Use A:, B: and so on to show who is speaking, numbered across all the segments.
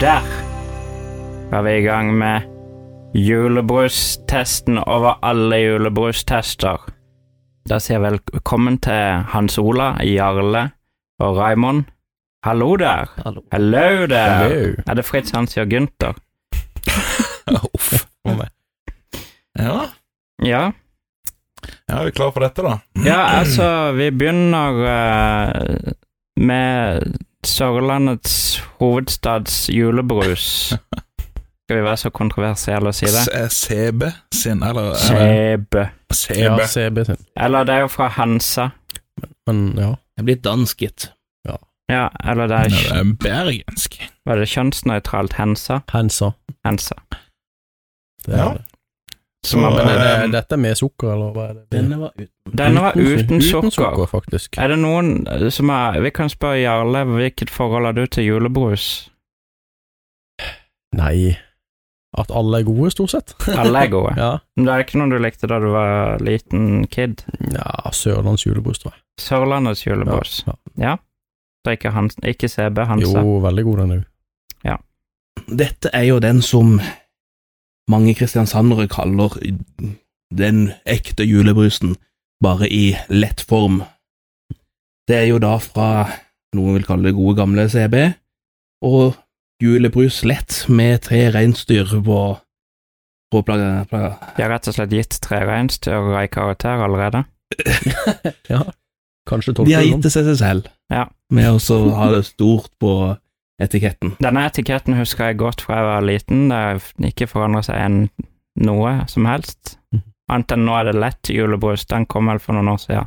A: Der var vi i gang med julebrustesten over alle julebrustester. Da sier jeg velkommen til Hans Ola, Jarle og Raimond. Hallo der.
B: Hallo.
A: Hello der.
C: Hello.
A: Er det Fritz Hans og Gunther?
C: Uff. for meg. Ja,
A: Ja.
C: ja, er vi klar for dette, da?
A: ja, altså, vi begynner eh, med Sørlandets hovedstads julebrus. Skal vi være så kontroversielle og si det?
C: S- CB sin, eller eller-
A: Sæbe.
C: CB.
B: Ja, CB sin.
A: Eller det er jo fra Hansa.
B: Men ja.
D: Jeg blir dansket.
A: Ja, eller det
C: Nei,
A: er
C: Det
A: kj-
C: er bergensk.
A: Var det kjønnsnøytralt Hensa?
B: Hansa.
A: Hensa.
B: Det er
C: Ja.
B: det.
C: Så
A: Men,
B: Men er det,
C: eh,
B: er dette med sukker, eller hva er det?
D: Denne var ut.
A: Denne var uten sukker.
B: faktisk.
A: Er det noen eh, som er Vi kan spørre Jarle hvilket forhold har du til julebrus?
B: Nei. At alle er gode, stort sett.
A: Alle er gode.
B: Ja.
A: Men det er ikke noen du likte da du var liten kid?
B: ja Sørlands julebrus, tror jeg.
A: Sørlandets
B: Ja,
A: julebrus.
B: ja.
A: Så ikke, Hans, ikke CB Hansa.
B: Jo, veldig god den er jo.
D: Dette er jo den som mange kristiansandere kaller den ekte julebrusen, bare i lett form. Det er jo da fra noen vil kalle det gode gamle CB, og julebrus lett med tre reinsdyr på, på pla- pla-
A: De har rett og slett gitt tre reinsdyr i karakter allerede.
B: Ja. Kanskje tolv
D: De har gitt det seg selv,
A: Ja.
D: med å så ha det stort på etiketten.
A: Denne etiketten husker jeg godt fra jeg var liten. Det har ikke forandra seg en noe som helst.
B: Mhm.
A: Annet enn nå er det lett julebrus. Den kom vel for noen år siden.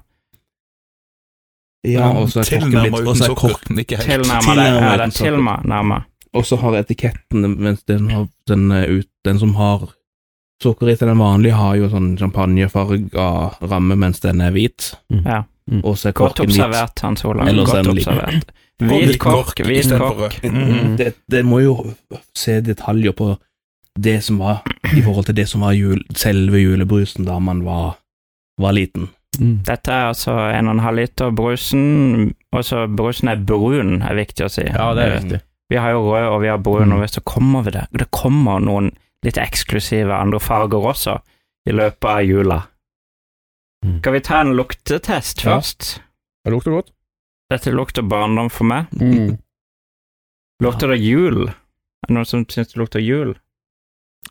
D: Ja, og så er korken
C: Tilnærmet
D: blitt, og
C: uten
D: så er
C: sukker.
D: kork,
C: Ikke helt.
A: Tilnærma det.
D: Tilnærma
A: Ja,
D: uten
A: det er
D: sukker.
A: tilnærma.
D: Og så har etiketten mens den, har, den, er ut, den som har sukker i til den vanlige, har jo sånn champagnefarga ramme mens den er hvit.
A: Ja.
D: Og så er
A: Godt
D: korken hvit.
A: observert, Hans Olav.
D: Eller så
A: Godt
D: er den liten.
A: observert.
C: Og
A: Hvit
C: litt
A: kork, hvit
C: istedenfor
A: kork. Mm.
C: rød. Mhm.
D: Mm. Det, det må jo se detaljer på det som var i forhold til det som var jul, selve julebrusen da man var, var liten.
B: Mm.
A: Dette er altså en og en halv liter brusen, og så brusen er brun, er viktig å si.
B: Ja, det er
A: Mm.
B: riktig.
A: Vi har jo rød, og vi har brun, og så kommer vi det. Det kommer noen litt eksklusive andre farger også i løpet av jula.
B: Mm.
A: Skal vi ta en luktetest
B: Ja.
A: først?
B: Det lukter godt.
A: Dette lukter barndom for meg. Lukter det jul? Er det noen som syns det lukter jul?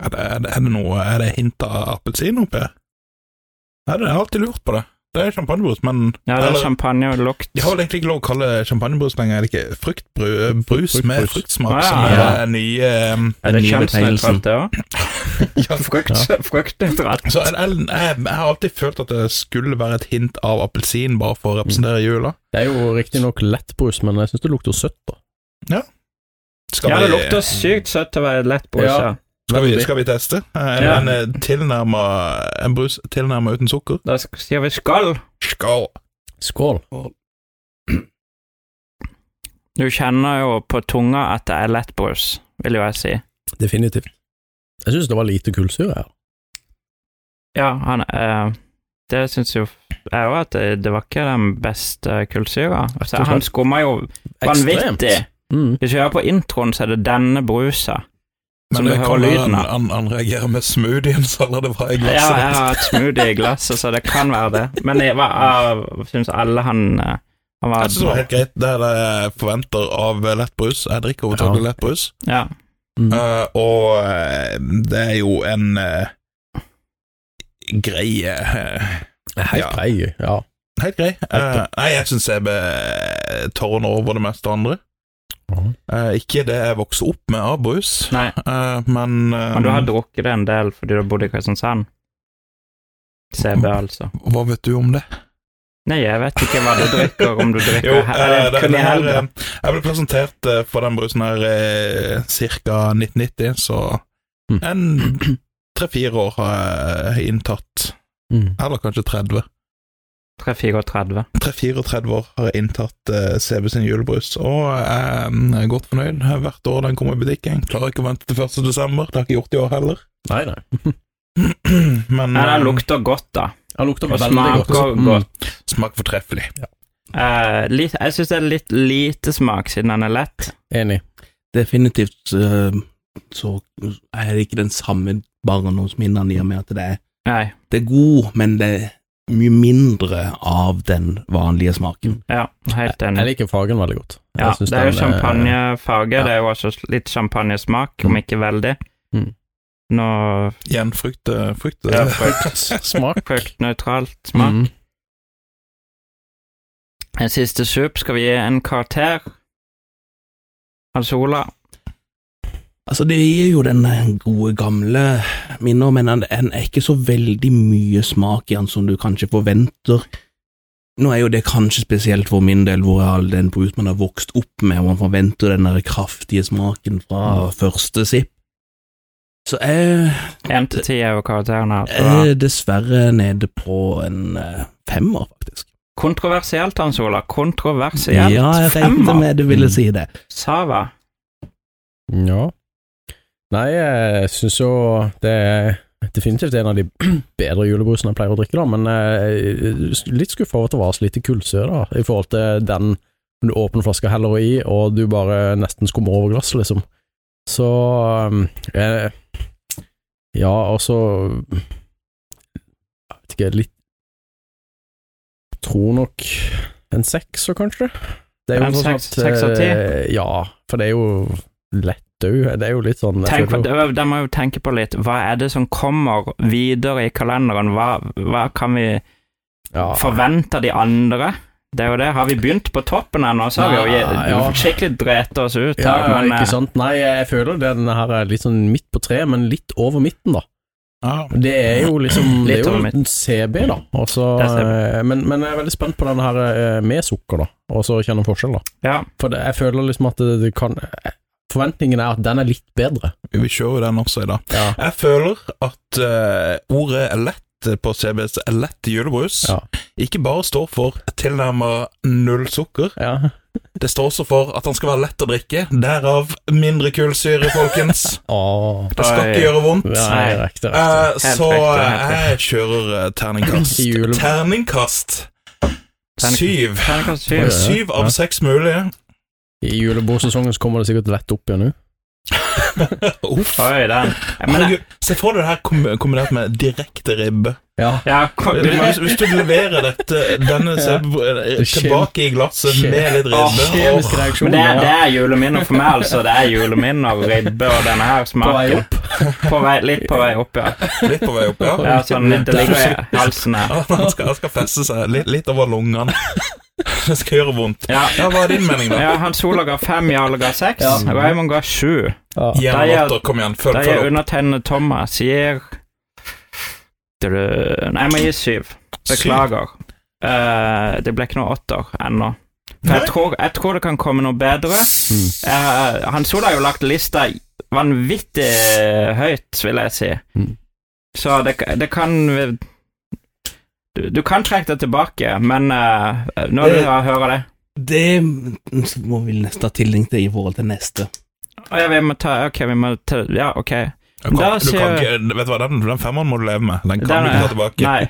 C: Er det, er det- er det noe Er det hint av appelsin oppi her? Nei, det- Jeg har alltid lurt på det. Det er champagnebrus, men
A: Ja, det er
C: Eller-
A: champagne og lukt.
C: de har vel egentlig ikke lov å kalle det champagnebrus lenger. Er det ikke fruktbrus brus med
B: Fruktbrus.
C: fruktsmak
A: Ah,
C: som
A: ja.
C: er den nye um,
A: Er det
D: Den nye betegnelsen.
A: kjønnsnøytralt, det òg?
C: ja,
A: Frukt, Fruktnøytralt.
C: Så er det- er det- jeg, jeg har alltid følt at det skulle være et hint av appelsin bare for å representere
A: Mm.
C: jula.
B: Det er jo riktignok lettbrus, men jeg syns det lukter søtt, da.
C: Skal,
A: Ja, det
C: vi,
A: lukter sykt søtt til å være lett brus.
B: Ja.
A: Ja.
C: skal, vi, skal vi teste? En,
A: Ja.
C: en, eh, tilnærmet- en brus tilnærma uten sukker?
A: Da sk- sier vi skål.
C: Skal.
B: Skål.
A: Du kjenner jo på tunga at det er lettbrus, vil jo jeg si.
B: Definitivt. Jeg syns det var lite kullsyre her.
A: Ja, han eh, Det syns jo jeg òg, at det, det var ikke den beste kullsyra. Altså, han skumma jo vanvittig.
B: Mm.
A: Hvis vi hører på introen, så er det denne brusa. Som
C: Men
A: du
C: det
A: hører
C: kan være
A: lyden
C: han,
A: av.
C: han, han reagerer med smoothien som allerede var i
A: Ja,
C: glasset.
A: jeg har hatt smoothie i glasset, så det kan være det. Men jeg, var- jeg syns alle han eh, Han
C: Jeg synes det var
A: var
C: helt greit. Det er det jeg forventer av lettbrus. Jeg drikker overtakelig lettbrus.
A: Ja.
B: Mm.
C: Eh, og eh, det er jo en eh, grei eh,
B: Helt
C: Ja.
B: grei, ja.
C: Helt grei. Eh,
B: grei.
C: nei, jeg syns CB tårner over det meste andre.
B: Mhm.
C: Eh, ikke det jeg vokste opp med av brus,
A: Nei.
C: eh, men, eh,
A: Men du
B: Mhm.
A: har drukket det en del fordi du har bodd i Kristiansand? CB,
B: Mm.
A: altså.
C: Hva vet du om det?
A: Nei, jeg vet ikke hva du drikker, om du drikker
C: Jo,
A: her.
C: eh,
A: Det
C: den,
A: kunne
C: den her,
A: heller.
C: eh, jeg ble presentert eh, for den brusen her eh, ca. 1990, så
B: Mm.
C: en tre-fire år har jeg inntatt.
B: Mm.
C: Eller kanskje 30.
A: 334.
C: 3-34 år har jeg inntatt eh, CB sin julebrus, og eh, jeg er godt fornøyd. Hvert år den kommer i butikken. Klarer ikke å vente til 1. desember. Det har jeg ikke gjort i år heller.
B: Nei, nei.
C: Men
A: Nei,
C: eh,
A: den lukter godt, da.
B: Den lukter
A: Og
B: Mm. veldig
A: smaker
B: godt.
A: godt.
B: Mm.
C: smaker fortreffelig.
A: Eh, litt, jeg syns det er litt lite smak, siden den er lett.
B: Enig.
D: definitivt eh, så er det ikke den samme barndomsminnene i og med at det er,
A: Nei.
D: det er god, men det er mye mindre av den vanlige smaken.
A: Ja, helt
B: Jeg
A: enig.
B: liker fargen veldig godt.
A: Ja,
B: Jeg synes
A: det er jo
B: den, eh,
A: champagnefarge.
B: ja.
A: Det er jo også litt champagnesmak, om
B: Mm.
A: ikke veldig.
B: Mm.
A: Nå
C: Igjen frukt, eh, frukt
A: Ja,
C: eh,
B: Smak.
A: fruktnøytralt smak.
B: Mm.
A: En siste sup skal vi gi en karakter. Hans Ola.
D: Altså, det gir jo den eh, gode, gamle minner, men den den er ikke så veldig mye smak i den som du kanskje forventer. Nå er jo det kanskje spesielt for min del, hvor all den brut man har vokst opp med, og man forventer den der kraftige smaken fra første sipp. Så jeg
A: Én til ti er jo karakteren her. så da-
B: Eh.
D: er dessverre nede på en eh, femmer, faktisk.
A: Kontroversielt, Hans Ola. Kontroversielt.
D: Ja, jeg regnet
A: Femmer.
D: med du ville si det.
A: Sava.
B: Ja. Nei, jeg syns jo det er definitivt en av de bedre julebrusene jeg pleier å drikke, da, men eh, litt skuffa over at det var så lite kullsyre da, i forhold til den du åpner flaska heller i, og du bare nesten skummer over glasset, liksom. Så eh, Ja, altså Jeg vet ikke, litt Tror nok en sekser, kanskje? Det
A: En
B: sånn
A: seks-
B: at, eh,
A: seks av ti?
B: Ja, for det er jo lett òg. Det er jo litt sånn jeg
A: Tenk,
B: føler jo-
A: da da må jeg jo tenke på litt. Hva er det som kommer videre i kalenderen? Hva, hva kan vi
B: ja.
A: forvente av de andre? Det er jo det. Har vi begynt på toppen ennå, så har vi jo
B: Nei, ja.
A: gi- skikkelig drept oss ut.
B: Ja,
A: her, men, eh,
B: ikke sant. Nei, jeg føler den her er litt sånn midt på treet, men litt over midten, da.
C: ja.
B: Det er jo liksom Det
A: Litt
B: er jo
A: over midten.
B: en CB, da. Og så,
A: Det er
B: eh, men, men jeg er veldig spent på den her eh, med sukker, da. Og så kjenne forskjell, da.
A: eh, ja.
B: For det, jeg føler liksom at det, det kan Forventningen er at den er litt bedre.
C: Vi vil se jo den også i dag.
B: Ja.
C: Jeg føler at eh, ordet lett på CBs lett julebrus
B: Ja.
C: ikke bare står for tilnærmet null sukker,
B: ja.
C: det står også for at den skal være lett å drikke, derav mindre kullsyre, folkens.
B: Åh.
C: Det skal ikke
A: Oi.
C: gjøre vondt.
B: Nei, riktig, riktig.
C: Eh, så
A: riktig, helt
C: eh, jeg kjører eh, terningkast.
B: I jule-
C: Terningkast
A: Terning-
C: syv.
A: Terningkast
B: Oi,
A: syv.
B: oi.
C: Syv
B: Ja.
C: av seks mulige.
B: I julebordsesongen så kommer det sikkert lett opp igjen nå.
C: Uff.
A: Oi, den. Men,
C: Herregud, se for deg det her kom- kombinert med direkte ribbe.
B: Ja.
A: ja, ko- du må
C: Hvis, hvis du leverer dette, denne
B: Det
C: sebro-
B: skjer.
C: tilbake i glasset
B: Skjer.
C: med litt ribbe
B: Kjemisk
C: og-
B: reaksjon.
A: Men det, er-
B: ja.
A: det er juleminner for meg, altså. Det er juleminner, ribbe og denne her
B: På vei
A: smaken.
B: opp.
A: På vei, litt på vei opp, ja.
C: Litt på vei opp, ja.
A: ja sånn, det ligger i halsen her.
C: Ja, Han skal, han skal feste seg litt, litt over lungene. Det skal gjøre vondt.
A: Ja.
C: Ja, Hva er din mening, da?
A: ja, Hans Ola ga fem, Jarle ga seks.
B: Ja.
A: Raymond ga sju.
B: Ja.
C: Gjennom
A: Da er-
C: latter, kom igjen. Følg,
A: Da gir
C: følg opp.
A: undertegnede Thomas gir Du- Nei, jeg må gi syv. Beklager. Eh, det ble ikke noe åtter ennå. For jeg
C: Nei.
A: tror, jeg tror det kan komme noe bedre.
B: Mm.
A: Eh, Hans Ola har jo lagt lista vanvittig høyt, vil jeg si.
B: Mm.
A: Så det, det kan du, du kan trekke det tilbake, men eh, når du
D: Det-
A: hører det
D: Det må vi nesten ta tilling til i forhold til neste.
A: Å ja, vi må ta Ok, vi må ta Ja, ok.
C: Du kan,
A: Da
C: du
A: sier-
C: kan ikke, vet du hva, den, den femmeren må du leve med. Den kan
A: Den
C: du
A: er-
C: ikke ta tilbake.
A: Nei.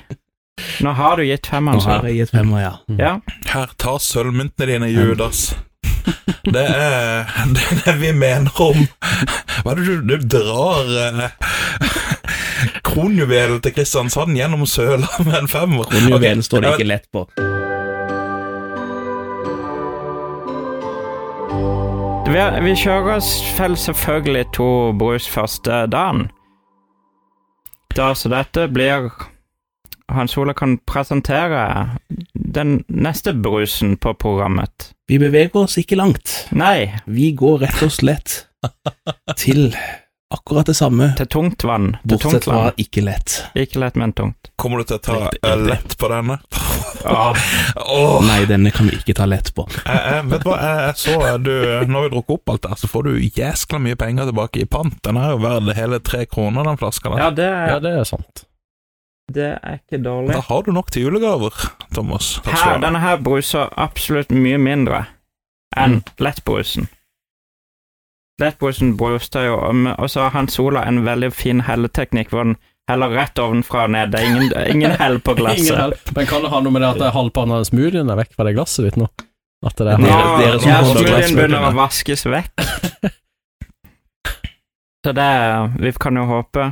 A: Nå har du gitt femmeren,
D: Nå
A: så.
D: har jeg gitt femmer, ja.
A: Ja.
C: Her, ta sølvmyntene dine, Judas. Det er det, er det vi mener om Hva er det du, du drar eh, kronjuvelen til Kristiansand gjennom søla med en femmer?
D: Under
C: Ok,
D: okay, står det ikke lett på.
A: Vi, vi kjører oss vel selvfølgelig to brus første dagen. Da, så dette blir Hans Ola kan presentere den neste brusen på programmet.
D: Vi beveger oss ikke langt.
A: Nei,
D: Vi går rett og slett til akkurat det samme,
A: til tungtvann. Til
D: bortsett fra
A: tungtvann.
D: ikke lett.
A: Ikke lett, men tungt.
C: Kommer du til å ta
D: Riktig,
C: eh,
D: riktig.
C: lett på denne?
A: Åh,
C: Åh,
D: Nei, denne kan vi ikke ta lett på.
C: jeg, jeg, Eh, vet du hva, jeg, jeg så eh, du, Når vi drukket opp alt der, så får du jæskla mye penger tilbake i pant. Den er jo verd hele tre kroner, den flaska der.
A: ja, det,
B: ja, det er sant.
A: det er ikke dårlig.
C: Da har du nok til julegaver, Thomas. Takk skal
A: Her,
C: du ha.
A: denne her bruser absolutt mye mindre enn lettbrusen. Lettbrusen bruster jo, om- og så har Hans Ola en veldig fin helleteknikk hvor han heller rett ovenfra og ned. Det er ingen, ingen hell på
B: Ingen
A: glasset.
B: hell. Men kan det ha noe med det at det er halvparten av smoothien er vekk fra det glasset ditt nå? At det er
A: Nå,
C: Dere- dere som
A: ja,
C: holder
A: smoothien
C: glassene.
A: begynner å vaskes vekk. Så det Vi kan jo håpe.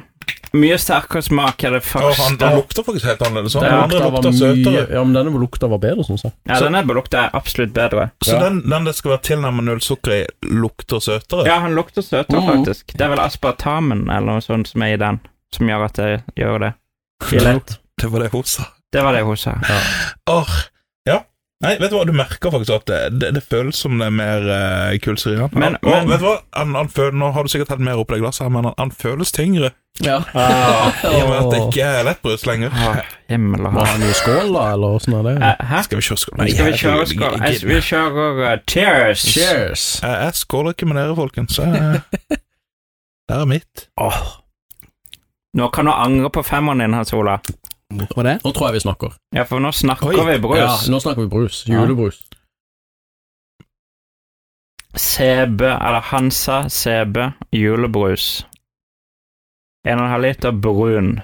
A: Mye sterkere smak er det
C: Og han,
A: første.
C: han lukter faktisk helt annerledes. Han
A: Den
C: andre lukter søtere.
B: Ja, men denne lukta var bedre, syns jeg.
A: ja, denne lukter absolutt bedre.
C: Så
B: Ja.
C: den, den det skal være tilnærmet null sukker i, lukter søtere?
A: Ja, han lukter søtere,
C: Mm.
B: Mhm.
A: faktisk. Det er vel aspartamen eller noe sånt som er i den, som gjør at det gjør det. Filett.
C: Det var det hun sa.
A: Det var det hun sa.
C: Åh, ja. Nei, vet du hva, du merker faktisk at det, det, det føles som det er mer uh, kulser i den.
A: Men-
C: Han- Åh,
A: men-
C: vet du hva, han, han føler, nå har du sikkert hatt mer oppi det glasset, her, men han, han føles tyngre.
B: Ja.
C: I og med at det ikke er lettbrus lenger.
A: Å, Ah, himmel og
B: Må
A: hav.
B: han i skål, da, eller åssen er det?
A: Eh, Hæ?
C: Skal vi kjøre skål?
A: Skal vi kjøre
C: jeg- jeg-
A: skål?
C: jeg-
A: Jeg- Vi kjører eh, cheers.
B: Cheers!
C: Jeg, jeg skåler ikke med dere, folkens. Jeg, det er mitt.
A: Nå kan du angre på femmeren din, Hans Ola.
D: Hvorfor det?
B: Nå tror jeg vi snakker.
A: Ja, for nå snakker
C: Oi.
A: vi brus.
B: Ja, nå snakker vi brus. Julebrus.
A: CB, eller Hansa CB julebrus. 1,5 liter brun.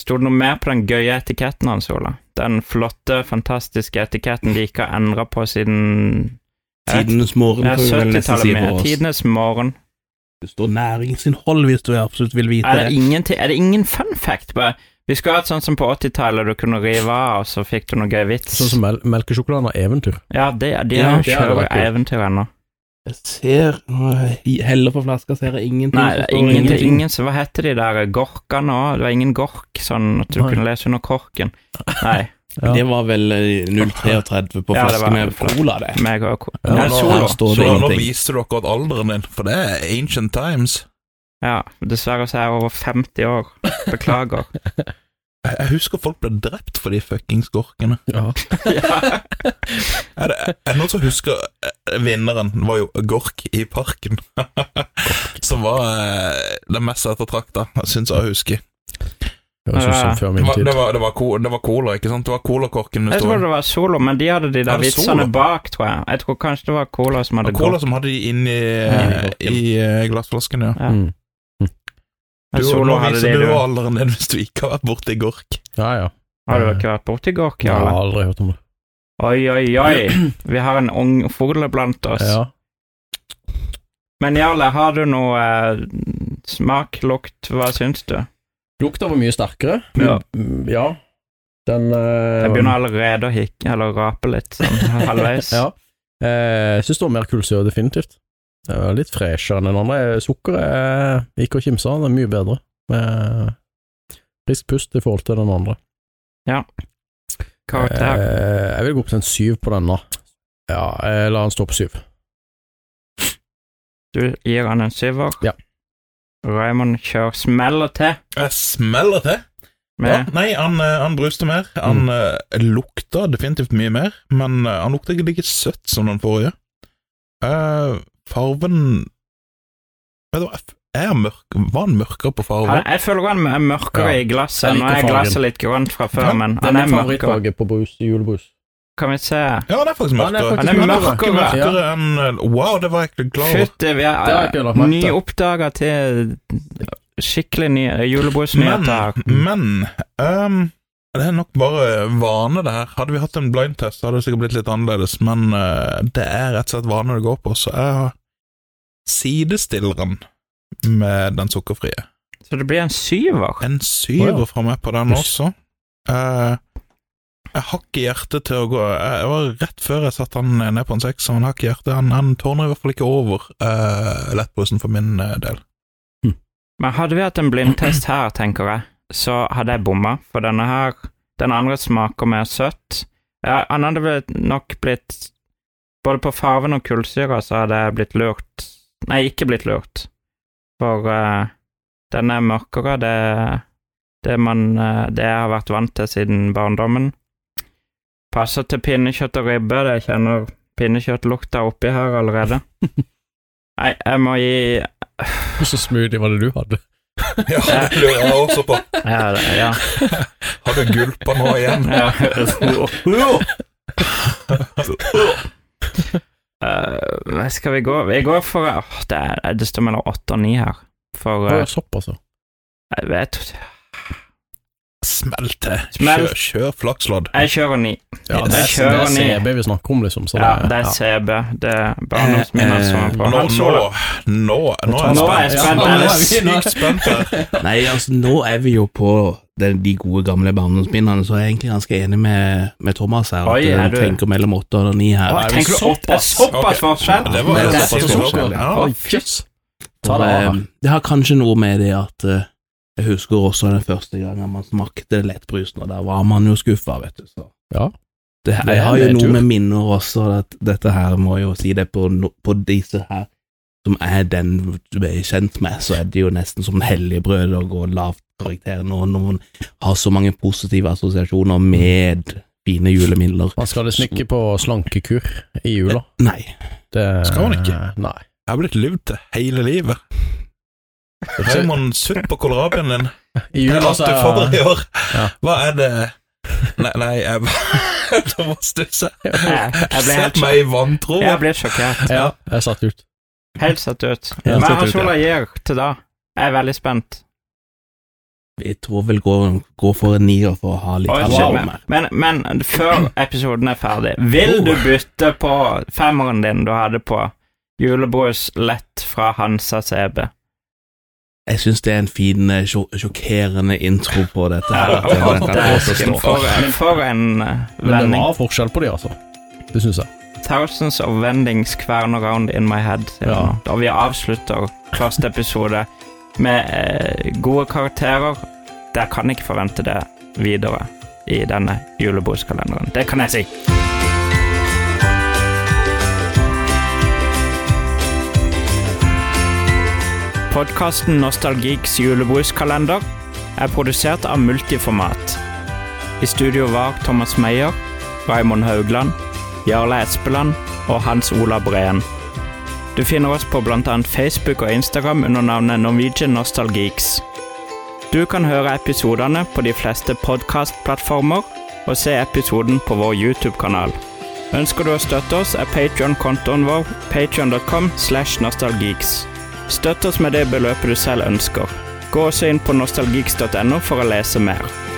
A: Sto det noe mer på den gøye etiketten hans, Ola? Den flotte, fantastiske etiketten de ikke har endra på siden Jeg vet-
D: Tidenes morgen,
A: Ja,
D: kan vi vel nesten si
A: 70-tallet.
D: for
A: med
D: oss.
A: Tidenes morgen.
D: Det står næringsinnhold, hvis du absolutt vil vite
A: Er det
D: det.
A: ingen, er det ingen fun fact? Bare, vi skulle hatt sånn som på 80-tallet, du kunne rive av, og så fikk du noe gøy vits.
B: Sånn som mel melkesjokoladen og eventyr.
A: Ja, det, de
D: Ja,
A: har
B: det hadde
A: kjører
B: vært kult.
A: eventyr ennå.
D: Jeg ser når jeg Heller på flaska, ser jeg ingenting.
A: Nei,
D: så
A: det er
D: står
A: ingen, det er
D: ingenting.
A: ingen som Hva heter de der gorkene òg? Det var ingen gork, sånn at du
B: Nei.
A: kunne lese under korken. Nei,
B: Ja.
D: Det var vel eh, 0,33 på
A: Ja, det
D: flaske
A: var-
D: med cola, det.
A: meg og ko-
B: Ja,
A: Nei,
C: nå-
A: Solo.
D: her står det
C: Så nå
D: ingenting.
C: viste dere at alderen din, for det er ancient times.
A: Ja, dessverre så er jeg over 50 år. Beklager.
C: Jeg, jeg husker folk ble drept for de fuckings gorkene.
B: Ja.
A: Ja.
C: Er det er det noen som husker eh, Vinneren var jo Gork i parken. som var eh, den mest ettertrakta, syns jeg å huske.
B: Høres ut som før
C: Det
B: min
C: var,
B: tid.
C: det, var, det, var co- det var cola, ikke sant? Det var colakorken det
A: Jeg
C: sto
A: tror det var Solo, men de hadde de
C: Er
A: der
C: det Solo?
A: vitsene bak, tror jeg. Jeg tror kanskje det var Cola som hadde
C: Det var cola som hadde de inni
A: Ja.
C: i eh, glassflasken, ja.
A: Ja.
B: Mm.
A: Men
C: Du,
A: Solo
C: nå
A: hadde de,
C: viser du
A: du.
C: alderen din hvis du ikke har vært borti Gork.
B: Ja, ja.
A: Har du ikke vært borti gork,
B: Jeg har
A: Jarle?
B: aldri hørt om det.
A: Oi, oi, oi. Vi har en ung fugle blant oss.
B: Ja.
A: Men Jarle, har du noe eh, smak, lukt, hva syns du?
B: Eh, Lukta var mye sterkere.
A: Ja.
B: Mm, ja. Den eh,
A: Jeg begynner allerede å hikke, eller rape litt, sånn halvveis.
B: Ja. Eh, jeg syns det var mer kulsør, definitivt. Det var litt freshere enn den andre. Sukkeret er ikke å kimse av, det er mye bedre. Med frisk pust i forhold til den andre.
A: Karakter.
B: Eh, jeg vil gå opp til en syv på denne. Ja, jeg lar den stå på syv.
A: Du gir han en syver.
B: Ja.
A: Raymond kjører smeller til
C: Jeg Eh, smeller til. Ja,
A: med Mm.
C: nei, han, eh, han bruste mer. Han eh, lukta definitivt mye mer, men eh, han lukta ikke like søtt som den forrige. Eh, farven Vet du hva, er han mørk? Var han mørkere på farven?
A: han, Jeg føler han er mørkere
B: Ja.
A: i glasset.
B: Jeg
A: Nå
B: liker
A: er
B: fargen.
A: glasset litt grønt fra før,
C: Ja,
A: men
B: Det
A: han
B: er
A: er
B: min
A: mørkere.
B: favorittfarge på brus, julebrus.
A: Kan vi se
C: Ja, han er faktisk
B: Han er
C: mørkere.
B: faktisk
C: Han er
A: mørkere.
C: mørkere, mørkere enn eh, Wow, det var jeg ikke klar over.
A: Fytti, vi
B: Det har jeg
A: er
B: ikke lagt merke til.
A: nyoppdaga til eh, skikkelig ny
C: Men,
A: julebrusnyheter.
C: men ehm, Det er nok bare vane, det her. Hadde vi hatt en blindtest, hadde det sikkert blitt litt annerledes, men eh, det er rett og slett vane det går på, så jeg sidestiller den med den sukkerfrie.
A: Så det blir en syver.
C: En syver fra meg på den
B: Jøss.
C: også. Eh, jeg har ikke hjerte til å gå Jeg jeg var rett før jeg satte han ned på en seks, så han har ikke hjerte. Han, han tårner i hvert fall ikke over eh, lettbrusen for min eh, del.
A: Men hadde vi hatt en blindtest her, tenker jeg, så hadde jeg bomma, for denne her Den andre smaker mer søtt. Ja, han hadde vel nok blitt Både på farven og kullsyra så hadde jeg blitt lurt Nei, ikke blitt lurt. For eh, den er mørkere, det det, man, eh, det jeg har vært vant til siden barndommen. Passer til pinnekjøtt og ribbe, det jeg kjenner pinnekjøttlukta oppi her allerede. Nei, jeg må gi
B: Så smoothie var det du hadde.
C: Ja, det lurer jeg også på.
A: Ja, det- ja.
C: Har du gulpa nå igjen?
A: Ja. Eh, skal vi gå Jeg går for åh, det, er, eh, det står mellom åtte og ni her. For
B: Det
A: eh,
B: var såpass, ja.
A: jeg vet
C: Smell til.
A: Smell.
C: Kjør, kjør flakslodd.
A: Jeg kjører ni.
B: Ja,
A: Jeg
B: det, er, det
A: kjører
B: er
A: ned.
B: CB vi snakker om, liksom. Så
A: Ja,
B: det,
A: det er CB. Det er barndomsminner som er
C: Nå,
A: på
C: Eh, nå,
A: Han
C: nå,
A: Solo.
C: nå, er jeg
A: Nå er jeg spent.
C: spent. Nå er jeg
B: Nå er vi-
C: sykt spent her.
D: Nei, altså, nå er vi jo på den, de gode gamle barndomsminnene, så jeg er egentlig ganske enig med, med Thomas her.
A: Oi, er
D: at
A: du-
D: du tenker mellom åtte og ni her.
A: Å, jeg
B: er vi
A: tenker du opp, det er
B: såpass?
A: såpass
C: Ok.
A: forskjell?
C: Det var
D: Men
C: jo
D: det er
C: såpass
D: så
C: forskjell.
D: forskjell,
C: Ja.
B: Oi, jøss. Ta
D: Og,
B: det
D: eh,
B: av.
D: det har kanskje noe med det at eh, jeg husker også den første gangen man smakte lettbrusen, og der var man jo skuffa, vet du. Så.
B: Ja.
D: Det, her-
B: Det
D: jeg
B: er
D: har jo
B: nedtur.
D: noe med minner også, at dette her må jeg jo si det på, no- på disse her som er den du er kjent med, så er det jo nesten som helligbrød å gå lavt karakter nå når man har så mange positive assosiasjoner med fine julemidler.
B: Man skal visst ikke på slankekur i jula.
D: Nei.
B: Det,
C: Skal man ikke?
B: Nei.
C: Jeg har blitt levd til hele livet. Raymond, sutt på kålrabien din.
B: I
C: Det er
B: jula
C: alt
A: altså.
B: så
C: du får i år.
B: Ja.
C: Hva er det Nei, nei jeg Thomas stusser.
A: Jeg Eh, jeg ble
C: Sett
A: helt
C: meg i vantro.
A: jeg ble sjokkert.
B: Ja, jeg satt ut.
A: Helt satt ut.
B: Ja,
A: Men
B: satt
A: Hans
B: ut, ja.
A: Olav gir til da. Jeg er veldig spent.
D: Jeg tror vel gå, gå for en nier for å ha litt
A: Oi,
B: wow.
A: shit,
D: alarm her.
A: men, men, men før episoden er ferdig, vil du bytte på femmeren din du hadde på julebrus lett fra Hansa CB?
D: Jeg syns det er en fin, eh, sjok sjokkerende intro på dette her. at det- det kan
A: Dæsken,
D: forstå.
A: for, for en eh,
B: Men det
A: vending.
B: var forskjell på de, altså. Det syns jeg.
A: Thousands of vendings kvern around in my head. sier
B: Ja.
A: han. Og vi avslutter første episode med eh, gode karakterer. Dere kan ikke forvente det videre i denne julebordskalenderen. Det kan jeg si. Podkasten Nostalgiks julebruskalender er produsert av Multiformat. I studio var Thomas Meyer, Raymond Haugland Jarle Espeland og Hans Ola Breen. Du finner oss på bl.a. Facebook og Instagram under navnet Norwegian Nostalgeeks. Du kan høre episodene på de fleste podkastplattformer og se episoden på vår YouTube-kanal. Ønsker du å støtte oss, er Patreon-kontoen vår patreon.com slash nostalgeeks. Støtt oss med det beløpet du selv ønsker. Gå også inn på nostalgeeks.no for å lese mer.